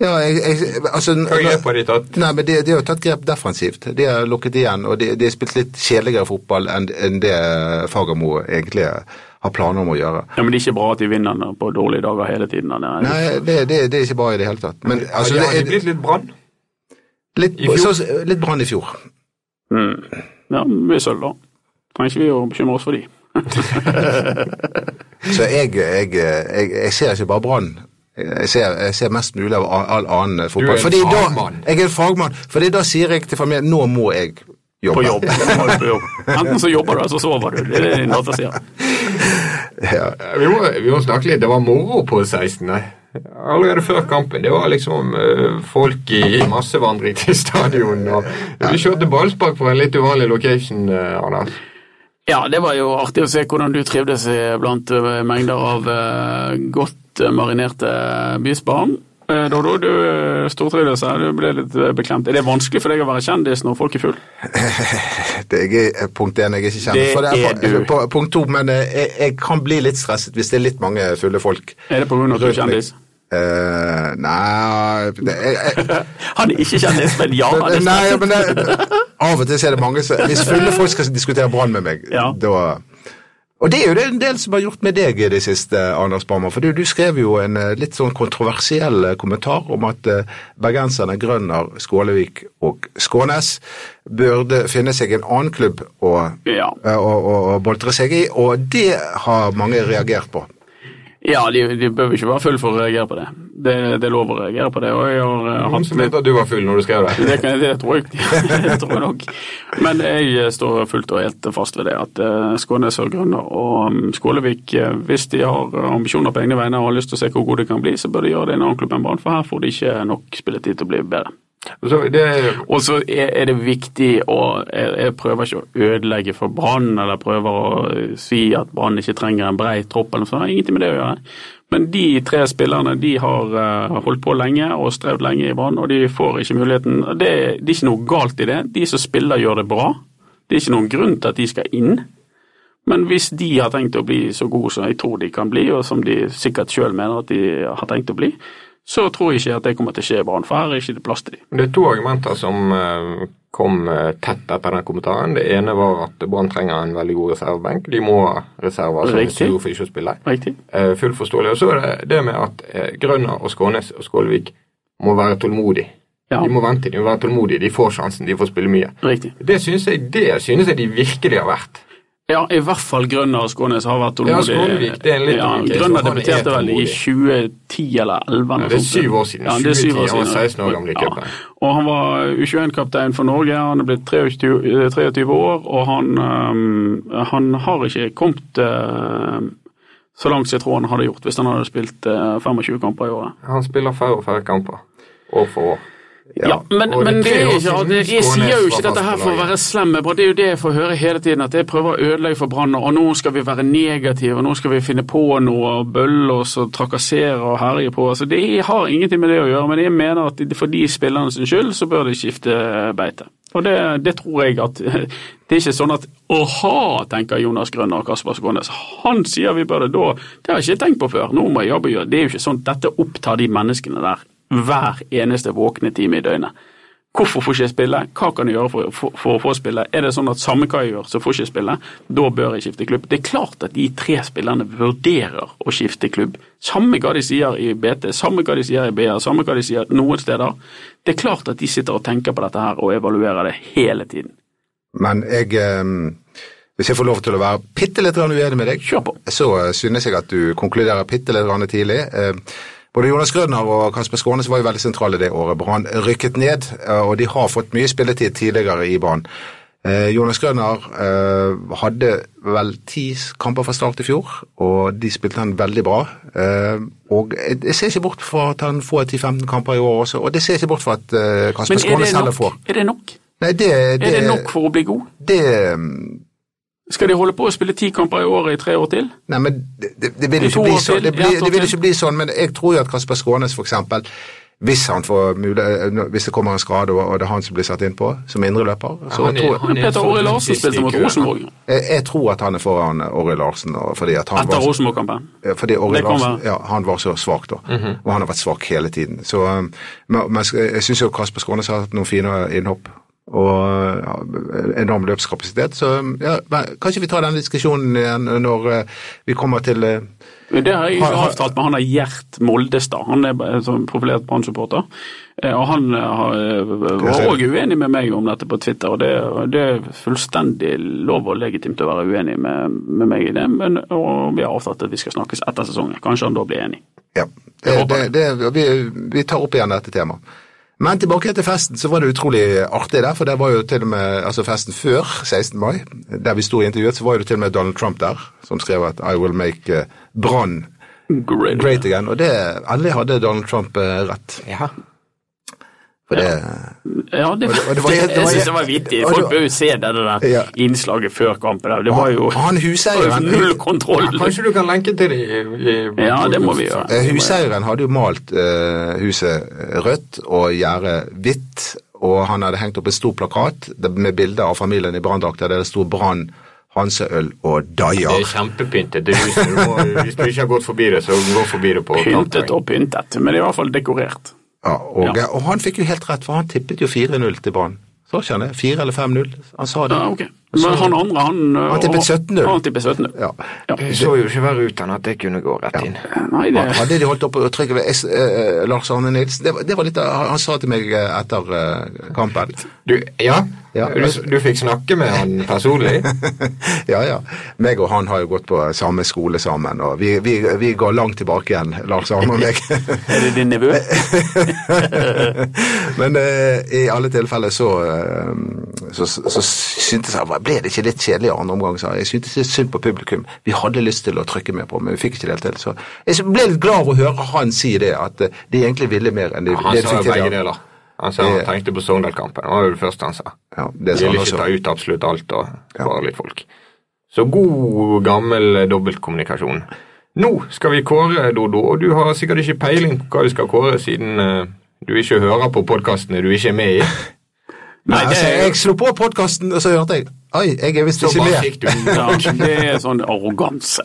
[SPEAKER 4] Ja, jeg, jeg altså,
[SPEAKER 3] Hva grep har de tatt?
[SPEAKER 4] Nei, men de, de har tatt grep defensivt. De har lukket igjen, og de, de har spilt litt kjedeligere fotball enn enn det Fagermo egentlig har planer om å gjøre.
[SPEAKER 5] Ja, Men det er ikke bra at de vinner den på dårlige dager hele tiden. den er-
[SPEAKER 4] Nei, det, det, det er ikke bra i det hele tatt. Men altså,
[SPEAKER 3] ja,
[SPEAKER 4] det
[SPEAKER 3] det har
[SPEAKER 4] er
[SPEAKER 3] blitt litt brann.
[SPEAKER 4] litt,
[SPEAKER 3] i fjor.
[SPEAKER 4] så- litt brann i fjor.
[SPEAKER 5] Mm. Ja, vi er sølv, da. Trenger ikke vi å bekymre oss for de.
[SPEAKER 4] Så jeg, jeg, jeg, jeg ser ikke bare Brann. Jeg ser, jeg ser mest mulig av a- all annen fotball.
[SPEAKER 3] Du er en
[SPEAKER 4] Fordi da-
[SPEAKER 3] fagmann.
[SPEAKER 4] Jeg er en fagmann. Fordi da sier jeg til familien nå må jeg jobbe.
[SPEAKER 5] På jobb. på jobb. Enten så jobber du, eller så sover du. Det er det din datter sier.
[SPEAKER 4] Ja.
[SPEAKER 3] Eh, Vi må, vi må snakke litt. Det var moro på 16. Allerede før kampen. Det var liksom eh, folk i massevandring til stadion. Og vi kjørte ballspark på en litt uvanlig location, eh, Anders.
[SPEAKER 5] Ja, det var jo artig å se hvordan du trivdes eh, blant eh, mengder av eh, godt eh, marinerte bysbarn. Eh, Dodo, du eh, stortrivdes her. Du ble litt eh, beklemt. Er det vanskelig for deg å være kjendis når folk er full?
[SPEAKER 4] Det jeg er punkt én jeg ikke kjenner.
[SPEAKER 5] Det
[SPEAKER 4] for det
[SPEAKER 5] er
[SPEAKER 4] er
[SPEAKER 5] du.
[SPEAKER 4] på, på, punkt to, men eh, jeg, jeg kan bli litt stresset hvis det er litt mange fulle folk.
[SPEAKER 5] Er det på grunn av at du er
[SPEAKER 4] Rundt meg.
[SPEAKER 5] kjendis?
[SPEAKER 4] Eh, nei det, jeg, jeg,
[SPEAKER 5] Han er ikke kjendis, men ja, han er
[SPEAKER 4] Nei,
[SPEAKER 5] stresset.
[SPEAKER 4] men det, av og til så er det mange som Hvis fulle folk skal diskutere Brann med meg,
[SPEAKER 5] Ja.
[SPEAKER 4] da Og det er jo det en del som har gjort med deg i det siste, Anders Barmer. For du, du skrev jo en eh, litt sånn kontroversiell eh, kommentar om at eh, bergenserne Grønner, Skålevik og Skånes burde finne seg en annen klubb å,
[SPEAKER 5] Ja.
[SPEAKER 4] eh, å, å, å boltre seg i, og det har mange reagert på.
[SPEAKER 5] Ja, de, de behøver ikke være full for å reagere på det. Det, det er lov å reagere på det. og jeg har eh,
[SPEAKER 3] Han
[SPEAKER 5] hatt
[SPEAKER 3] som mente at du var full når du skrev det.
[SPEAKER 5] det, kan, det tror jeg det tror jeg nok. Men jeg står fullt og helt fast ved det at eh, Skånes og Grønner og um, Skålevik, eh, hvis de har eh, ambisjoner på egne vegne og har lyst til å se hvor gode de kan bli, så bør de gjøre det i en annen klubb enn Brann, for her får de ikke nok spilletid til å bli bedre.
[SPEAKER 3] Så det
[SPEAKER 5] Og så er, er det viktig å jeg, jeg prøver ikke å ødelegge for Brann, eller prøver å eh, si at Brann ikke trenger en brei tropp, eller noe sånt. Det har Ingenting med det å gjøre. Men de tre spillerne de har eh, holdt på lenge og strevd lenge i Brann, og de får ikke muligheten. Og Det, det er ikke noe galt i det. De som spiller, gjør det bra. Det er ikke noen grunn til at de skal inn. Men hvis de har tenkt å bli så gode som jeg tror de kan bli, og som de sikkert sjøl mener at de har tenkt å bli, så tror jeg ikke at det kommer til å skje i Brann, for her er ikke det plass til de.
[SPEAKER 3] Det er to argumenter som eh, kom eh, tett etter den kommentaren. Det ene var at Brann trenger en veldig god reservebenk. De må ha reserver som er
[SPEAKER 5] Riktig.
[SPEAKER 3] stor for ikke å spille.
[SPEAKER 5] Riktig?
[SPEAKER 3] Eh, Fullt forståelig. Og så er det det med at eh, Grønner og Skånes og Skålevik må være tålmodige.
[SPEAKER 5] Ja.
[SPEAKER 3] De må vente, de må være tålmodige. De får sjansen, de får spille mye.
[SPEAKER 5] Riktig.
[SPEAKER 3] Det synes jeg, det synes jeg de virkelig har vært.
[SPEAKER 5] Ja, i hvert fall Grønner og Skånes har vært
[SPEAKER 3] Ja,
[SPEAKER 5] tålmodige.
[SPEAKER 3] Skånevik, det er en litt
[SPEAKER 5] ja,
[SPEAKER 3] annen case,
[SPEAKER 5] Grønner
[SPEAKER 3] for han er
[SPEAKER 5] debuterte vel i 2010 eller 11
[SPEAKER 3] Ja, det er syv år siden.
[SPEAKER 5] Ja, det er syv
[SPEAKER 3] 2010,
[SPEAKER 5] år
[SPEAKER 3] han var
[SPEAKER 5] siden.
[SPEAKER 3] 16 år gammel i cupen.
[SPEAKER 5] Og han var U21-kaptein for Norge, han er blitt 23, eh, 23 år, og han, ehm, han har ikke kommet eh, så langt som jeg tror han hadde gjort hvis han hadde spilt eh, 25 kamper i året.
[SPEAKER 3] Han spiller færre og færre kamper år for år.
[SPEAKER 5] Ja, men,
[SPEAKER 3] og det
[SPEAKER 5] men
[SPEAKER 3] er
[SPEAKER 5] det
[SPEAKER 3] tre
[SPEAKER 5] er
[SPEAKER 3] år
[SPEAKER 5] ikke,
[SPEAKER 3] siden
[SPEAKER 5] det, jeg
[SPEAKER 3] Skånes
[SPEAKER 5] sier jo ikke
[SPEAKER 3] var
[SPEAKER 5] dette
[SPEAKER 3] fast
[SPEAKER 5] her
[SPEAKER 3] på
[SPEAKER 5] for å
[SPEAKER 3] laget.
[SPEAKER 5] være slem med Brann. Det er jo det jeg får høre hele tiden, at jeg prøver å ødelegge for Brann. Og nå skal vi være negative, og nå skal vi finne på noe og bølle oss og trakassere og herje på. Altså, det har ingenting med det å gjøre, men jeg mener at for de spillerne sin skyld så bør de skifte beite. Og det, det tror jeg at Det er ikke sånn at åha, tenker Jonas Grønner og Kasper Skånes. Han sier vi bør det da. Det har jeg ikke tenkt på før. Nå må jeg jobbe gjøre. Det er jo ikke sånn. Dette opptar de menneskene der hver eneste våkne time i døgnet. Hvorfor får ikke jeg spille? Hva kan jeg gjøre for, for, for å få spille? Er det sånn at samme hva jeg gjør, så får ikke jeg spille? Da bør jeg skifte klubb. Det er klart at de tre spillerne vurderer å skifte klubb. Samme hva de sier i BT, samme hva de sier i BA, samme hva de sier noen steder. Det er klart at de sitter og tenker på dette her og evaluerer det hele tiden.
[SPEAKER 4] Men jeg ehm, Hvis jeg får lov til å være bitte litt grann uenig med deg,
[SPEAKER 5] Kjør på.
[SPEAKER 4] så eh, synes jeg at du konkluderer bitte litt grann tidlig. Eh, Både Jonas Grønner og Kasper Skånes var jo veldig sentrale det året. Brann rykket ned, eh, og de har fått mye spilletid tidligere i Brann. Eh, Jonas Grønner eh, hadde vel ti kamper fra start i fjor, og de spilte han veldig bra. Eh, og jeg jeg ser ikke bort fra at han får 10-15 kamper i år også, og det ser jeg ikke bort fra at eh, Kasper
[SPEAKER 5] Men er det
[SPEAKER 4] Skånes heller får.
[SPEAKER 5] nok? Er det nok?
[SPEAKER 4] Nei, det, det,
[SPEAKER 5] Er det nok for å bli god?
[SPEAKER 4] det mm,
[SPEAKER 5] Skal de holde på å spille ti kamper i året i tre år til?
[SPEAKER 4] Nei, men det, det, det vil
[SPEAKER 5] I
[SPEAKER 4] jo
[SPEAKER 5] to
[SPEAKER 4] ikke bli
[SPEAKER 5] år
[SPEAKER 4] sånn.
[SPEAKER 5] til,
[SPEAKER 4] Det,
[SPEAKER 5] ja,
[SPEAKER 4] blir,
[SPEAKER 5] to
[SPEAKER 4] det vil
[SPEAKER 5] til.
[SPEAKER 4] ikke bli sånn, men jeg tror jo at Kasper Skånes for eksempel, hvis han får mulig, hvis det kommer en skade og, og det er han som blir satt inn på som indreløper, så
[SPEAKER 3] han er-
[SPEAKER 4] tror jeg,
[SPEAKER 3] han er
[SPEAKER 5] Peter Åre
[SPEAKER 3] foran
[SPEAKER 5] Larsen
[SPEAKER 3] sist i
[SPEAKER 5] spilte mot
[SPEAKER 3] køen.
[SPEAKER 5] Rosenborg
[SPEAKER 4] jeg, jeg tror at han er foran eh, Orri Larsen og fordi at han
[SPEAKER 5] etter
[SPEAKER 4] var,
[SPEAKER 5] Rosenborg-kampen.
[SPEAKER 4] eh, fordi Orri
[SPEAKER 5] Det Mhm. kan
[SPEAKER 4] Larsen,
[SPEAKER 5] være.
[SPEAKER 4] ja, han var så svak da, og han har vært svak hele tiden. Så, um, men, men jeg syns jo Kasper Skånes har hatt noen fine innhopp. Og ja, enorm løpskapasitet. Så um, ja, men kanskje vi tar den diskusjonen igjen når eh, vi kommer til eh,
[SPEAKER 5] Men Det har jeg
[SPEAKER 4] Har-
[SPEAKER 5] ikke
[SPEAKER 4] har-
[SPEAKER 5] avtalt med han er Gjert Moldestad. Han er eh, som profilert Brann-supporter. Eh, Og han eh, har, eh, var òg uenig med meg om dette på Twitter, og det, det er fullstendig lov og legitimt å være uenig med, med meg i det. Men, og vi har avtalt at vi skal snakkes etter sesongen. Kanskje han da blir enig.
[SPEAKER 4] Ja,
[SPEAKER 5] Jeg
[SPEAKER 4] det,
[SPEAKER 5] håper
[SPEAKER 4] det, det, vi, vi tar opp igjen dette temaet. Men tilbake til festen, så var det utrolig artig der, for det var jo til og med altså festen før 16. mai, der vi sto i intervjuet, så var jo til og med Donald Trump der, som skrev at I will make eh, Brann
[SPEAKER 5] Great.
[SPEAKER 4] great again, og det, endelig hadde Donald Trump eh, rett.
[SPEAKER 3] Ja.
[SPEAKER 4] For det,
[SPEAKER 5] Ja, det,
[SPEAKER 4] Og det- og det var- det var-
[SPEAKER 5] jeg synes det var vittig.
[SPEAKER 4] og det
[SPEAKER 5] Folk
[SPEAKER 4] var-
[SPEAKER 5] bør jo se det der
[SPEAKER 4] Ja. Ah,
[SPEAKER 5] innslaget før kampen. der. Det var jo
[SPEAKER 4] Han
[SPEAKER 5] det var
[SPEAKER 4] huseieren,
[SPEAKER 5] jo null kontroll.
[SPEAKER 3] Kanskje du kan lenke til det i, i
[SPEAKER 5] Ja, det må vi gjøre.
[SPEAKER 4] eh, huseieren hadde jo malt eh, huset rødt og gjerdet hvitt, og han hadde hengt opp en stor plakat med bilder av familien i branndrakt der det sto Brann Hanseøl og
[SPEAKER 3] Det er
[SPEAKER 4] Dajer.
[SPEAKER 3] kjempepyntet. Det huset. Du må, hvis du ikke har gått forbi det, så gå forbi det på
[SPEAKER 5] Pyntet
[SPEAKER 3] Country.
[SPEAKER 5] og pyntet, men det er i hvert fall dekorert.
[SPEAKER 4] Ja, og,
[SPEAKER 5] Ja.
[SPEAKER 4] og han fikk jo helt rett, for han tippet jo 4-0 til Brann. Så skjønner jeg. 4 eller 5-0. Han sa det.
[SPEAKER 5] Ja, ok. Men han andre, han eh,
[SPEAKER 4] Han tippet 17-0.
[SPEAKER 5] Han tippet 17-0.
[SPEAKER 4] Ja.
[SPEAKER 5] Ja.
[SPEAKER 3] Det så jo ikke verre ut enn at jeg kunne gå rett inn.
[SPEAKER 5] Nei, det
[SPEAKER 4] Hadde de holdt opp og trykket ved S, eh, Lars Arne Nilsen det var, det var litt, av- han, han sa til meg eh, etter eh, kampen
[SPEAKER 3] Du, ja,
[SPEAKER 4] Ja.
[SPEAKER 3] du, du fikk snakke med han personlig.
[SPEAKER 4] Ja, ja. Meg og han har jo gått på samme skole sammen, og vi, vi, vi går langt tilbake igjen, Lars Arne og meg.
[SPEAKER 5] Er det din nevø?
[SPEAKER 4] Men eh, i alle tilfeller så, eh, så, så, så syntes jeg Ble det ikke litt kjedelig i andre omgang, sa jeg. Jeg syntes litt synd på publikum. Vi hadde lyst til å trykke mer på, men vi fikk ikke det helt til. Så jeg ble litt glad av å høre han si det, at eh, de egentlig ville mer enn de,
[SPEAKER 3] Han
[SPEAKER 4] det de
[SPEAKER 3] sa
[SPEAKER 4] fikk
[SPEAKER 3] jo begge
[SPEAKER 4] til. ja.
[SPEAKER 3] deler. Han sa han tenkte på Sogndal-kampen. Det var jo det første han sa.
[SPEAKER 4] Ja, det sa
[SPEAKER 3] Ville
[SPEAKER 4] han
[SPEAKER 3] ikke ta
[SPEAKER 4] også.
[SPEAKER 3] ut absolutt alt og bare litt folk. Så god, gammel eh, dobbeltkommunikasjon. Nå skal vi kåre, Dodo, og du har sikkert ikke peiling på hva du skal kåre, siden eh, du ikke hører på podkastene du ikke er med i.
[SPEAKER 5] Nei, det
[SPEAKER 4] altså,
[SPEAKER 5] er,
[SPEAKER 4] jeg slo på podkasten, og så hørte jeg Oi, jeg er visst
[SPEAKER 3] Så
[SPEAKER 4] ikke
[SPEAKER 3] bare
[SPEAKER 4] med.
[SPEAKER 3] fikk du den.
[SPEAKER 5] ja, det er sånn arroganse.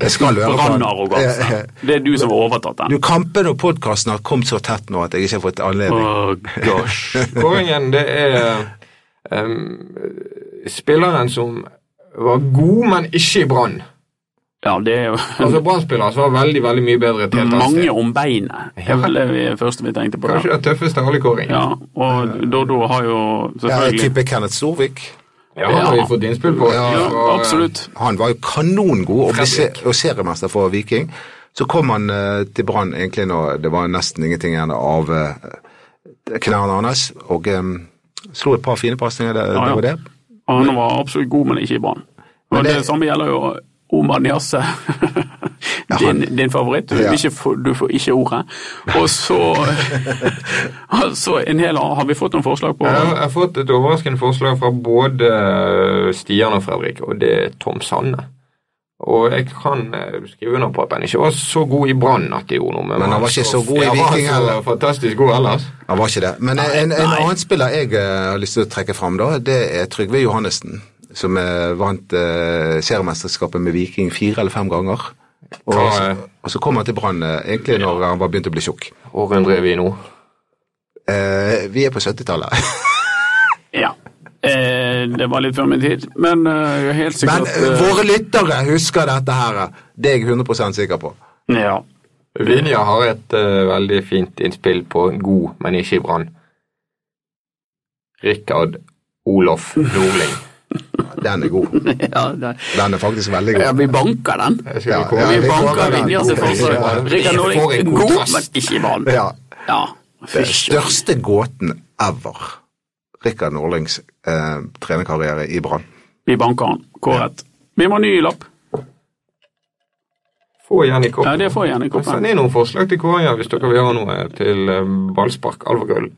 [SPEAKER 4] Jeg skal høre på han.
[SPEAKER 5] Brann-arroganse. Det er du som har overtatt
[SPEAKER 4] Du,
[SPEAKER 5] den.
[SPEAKER 4] Kampen og podkasten har kommet så tett nå at jeg ikke har fått anledning.
[SPEAKER 5] Åh, gosh.
[SPEAKER 3] Kåringen, det er em, spilleren som var god, men ikke i Brann.
[SPEAKER 5] Ja, det er jo
[SPEAKER 3] Altså Brann-spillere som var veldig veldig mye bedre til
[SPEAKER 4] Altså,
[SPEAKER 5] mange om beinet. Det er vel det vi- første vi tenkte på. der.
[SPEAKER 3] Kanskje den tøffeste av alle kåringer.
[SPEAKER 5] Ja, og Dodo har jo
[SPEAKER 4] Ja, jeg
[SPEAKER 5] selvfølgelig
[SPEAKER 4] tipper Kenneth Storvik.
[SPEAKER 3] Ja, han har vi fått innspill på.
[SPEAKER 4] Ja,
[SPEAKER 5] Ja,
[SPEAKER 3] fra, eh,
[SPEAKER 5] absolutt.
[SPEAKER 4] Han var jo kanongod og, ble se-
[SPEAKER 3] Fredrik.
[SPEAKER 4] og seriemester for Viking. Så kom han eh, til Brann egentlig når det var nesten ingenting igjen av eh, knærne hans, og eh, slo et par fine pasninger. Det,
[SPEAKER 5] Ja, ja.
[SPEAKER 4] det var det.
[SPEAKER 5] Han var absolutt god, men ikke i Brann. Og det,
[SPEAKER 4] det-
[SPEAKER 5] samme gjelder jo Omar Niasse. Din, din favoritt. Du,
[SPEAKER 4] Ja.
[SPEAKER 5] ikke, får- du får ikke ordet. Og så altså, en hel, Har vi fått noen forslag på
[SPEAKER 3] eh, Jeg har, jeg har fått et overraskende forslag fra både eh, Stian og Fredrik, og det er Tom Sanne. Og jeg kan eh, skrive under på at han ikke var så god i Brann at de gjorde noe med
[SPEAKER 4] Men han var ikke så god i
[SPEAKER 3] Ja, var han
[SPEAKER 4] Viking
[SPEAKER 3] så
[SPEAKER 4] heller.
[SPEAKER 3] Fantastisk god ellers.
[SPEAKER 4] Han var ikke det. Men en, en, annen spiller jeg eh, har lyst til å trekke fram, da, det er Trygve Johannessen. Som eh, vant eh, seriemesterskapet med Viking fire eller fem ganger. Og,
[SPEAKER 3] Ja,
[SPEAKER 4] så,
[SPEAKER 3] eh.
[SPEAKER 4] og så kom han til Brann eh, egentlig når han var begynt å bli tjukk.
[SPEAKER 3] Århundre er vi nå.
[SPEAKER 4] Eh, vi er på 70-tallet.
[SPEAKER 5] Ja. Eh, det var litt før min tid, men eh,
[SPEAKER 4] Men
[SPEAKER 5] helt sikkert
[SPEAKER 4] eh,
[SPEAKER 5] eh,
[SPEAKER 4] våre lyttere husker dette her. eh. Det er jeg 100 sikker på.
[SPEAKER 5] ja.
[SPEAKER 3] Vinja har et eh, veldig fint innspill på god, men ikke i Brann. Rikard Olof Nordling.
[SPEAKER 4] Den er god.
[SPEAKER 5] ja, det,
[SPEAKER 4] Den er faktisk veldig
[SPEAKER 5] ja,
[SPEAKER 4] god.
[SPEAKER 5] vi banker den.
[SPEAKER 3] Jeg skal
[SPEAKER 4] Ja,
[SPEAKER 3] gå-
[SPEAKER 4] ja,
[SPEAKER 5] Vi
[SPEAKER 4] vi
[SPEAKER 5] banker
[SPEAKER 4] banker den.
[SPEAKER 5] Vinjas
[SPEAKER 4] God,
[SPEAKER 5] forslag.
[SPEAKER 3] ja.
[SPEAKER 5] Rikard
[SPEAKER 3] For en
[SPEAKER 5] Nordling,
[SPEAKER 3] god
[SPEAKER 5] god,
[SPEAKER 3] kast.
[SPEAKER 5] men ikke i Brann.
[SPEAKER 4] Ja,
[SPEAKER 5] Ja.
[SPEAKER 4] Den
[SPEAKER 5] Fysj.
[SPEAKER 4] største gåten ever. Rikard Norlings eh, trenerkarriere i Brann.
[SPEAKER 5] Vi banker han. Kåret. Vi må ha ny lapp.
[SPEAKER 3] Få igjen i
[SPEAKER 5] Ja,
[SPEAKER 3] koppen.
[SPEAKER 5] det får jeg gjerne i koppen.
[SPEAKER 3] Send inn noen forslag til kåringer hvis dere vil ha noe til eh, ballspark, alfakrøll,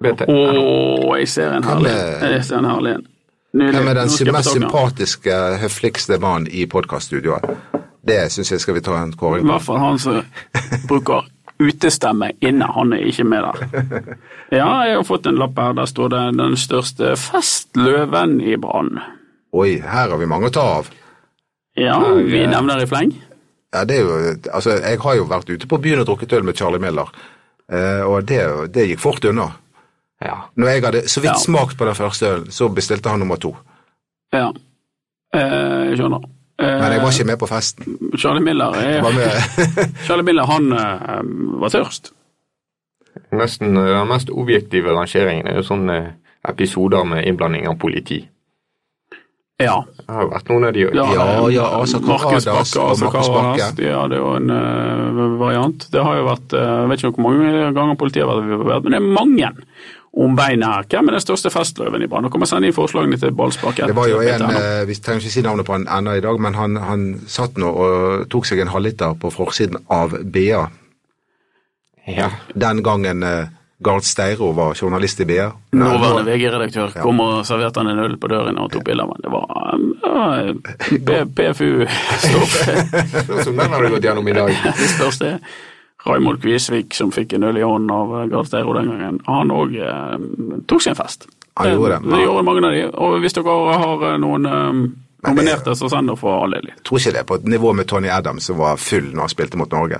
[SPEAKER 3] BT.
[SPEAKER 5] Å, jeg ser en herlig en. Jeg ser en herlig en. Nydelig.
[SPEAKER 4] Hvem er den
[SPEAKER 5] Nå
[SPEAKER 4] sy-
[SPEAKER 5] skal jeg
[SPEAKER 4] mest
[SPEAKER 5] få tak i han.
[SPEAKER 4] sympatiske, høfligste mannen i podkaststudioet? Det syns jeg skal vi ta en kåring
[SPEAKER 5] I
[SPEAKER 4] på.
[SPEAKER 5] hvert fall han som bruker utestemme inne. Han er ikke med der. Ja, jeg har fått en lapp her. Der står det 'Den største festløven i Brann'.
[SPEAKER 4] Oi, her har vi mange å ta av.
[SPEAKER 5] Ja, vi nevner i fleng.
[SPEAKER 4] Ja, det er jo, altså, jeg har jo vært ute på byen og drukket øl med Charlie Miller, eh, og det, det gikk fort unna.
[SPEAKER 3] Ja.
[SPEAKER 4] Når jeg hadde så vidt
[SPEAKER 5] Ja.
[SPEAKER 4] smakt på den første ølen, så bestilte han nummer to.
[SPEAKER 5] Ja. Eh, jeg skjønner.
[SPEAKER 4] Men jeg
[SPEAKER 5] Eh,
[SPEAKER 4] var ikke med på festen.
[SPEAKER 5] Charlie Miller,
[SPEAKER 4] Jeg
[SPEAKER 5] er,
[SPEAKER 4] var med.
[SPEAKER 5] Charlie Miller han eh, var tørst.
[SPEAKER 3] Nesten eh, den mest objektive rangeringen er jo sånne episoder med innblanding av politi.
[SPEAKER 5] Ja.
[SPEAKER 3] Det har jo vært noen av de
[SPEAKER 4] Ja, ja, Asa
[SPEAKER 5] Markus
[SPEAKER 4] Karadas
[SPEAKER 5] Bakke,
[SPEAKER 4] og
[SPEAKER 5] Asa
[SPEAKER 4] Markus
[SPEAKER 5] Karadas.
[SPEAKER 4] Bakke.
[SPEAKER 5] Ja, det er jo en eh, variant. Det har jo vært, eh, jeg vet ikke hvor mange ganger politiet har vært involvert, men det er mange om beinet her. Hvem er den største festløven i Brann? Nå kan man sende inn forslagene til Ballspark.
[SPEAKER 4] Det var jo en, eh, vi trenger ikke si navnet på han ennå i dag, men han, han satt nå og tok seg en halvliter på forsiden av BA.
[SPEAKER 3] ja.
[SPEAKER 4] Den gangen eh, Gard Steiro var journalist i BA. Nei,
[SPEAKER 5] Nåværende
[SPEAKER 4] nå-
[SPEAKER 5] VG-redaktør kom og serverte han en øl på døren og tok bilder av han. Det var eh, ja, PFU-stoff.
[SPEAKER 3] Sånn som den har du gått gjennom i dag.
[SPEAKER 5] Det største er Raymond Kvisvik, som fikk en øl i hånden av eh, Gard Steiro den gangen. Han òg eh, tok sin fest.
[SPEAKER 4] Han gjorde det.
[SPEAKER 5] Det gjorde mange av de. Og hvis dere har eh, noen eh, Nominerte Sassando for all del.
[SPEAKER 4] Jeg tror ikke det er på et nivå med Tony Adams som var full når han spilte mot Norge.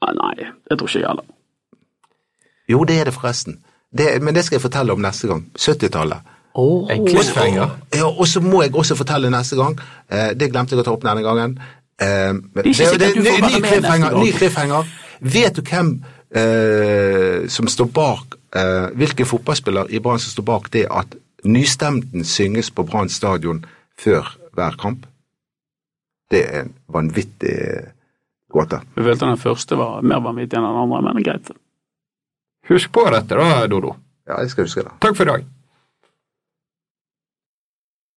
[SPEAKER 5] Ah, Nei, jeg tror ikke jeg heller.
[SPEAKER 4] Jo, det er det forresten. Det, men det skal jeg fortelle om neste gang. 70-tallet.
[SPEAKER 3] En cliffhanger.
[SPEAKER 4] Ja, og så må jeg også fortelle neste gang. Eh, det glemte jeg å ta opp denne gangen. Eh, men- det er
[SPEAKER 5] sikkert
[SPEAKER 4] det er
[SPEAKER 5] du får
[SPEAKER 4] ny-
[SPEAKER 5] være
[SPEAKER 4] ny
[SPEAKER 5] med
[SPEAKER 4] cliffhanger,
[SPEAKER 5] neste gang.
[SPEAKER 4] Ny cliffhanger. Vet du hvem eh, som står bak eh, Hvilken fotballspiller i Brann som står bak det at Nystemten synges på Brann stadion før hver kamp? Det er en vanvittig gåte.
[SPEAKER 5] Jeg følte den første var mer vanvittig enn den andre, men greit.
[SPEAKER 3] Husk på dette da, Dodo.
[SPEAKER 4] Ja, jeg skal huske det.
[SPEAKER 3] Takk for i dag.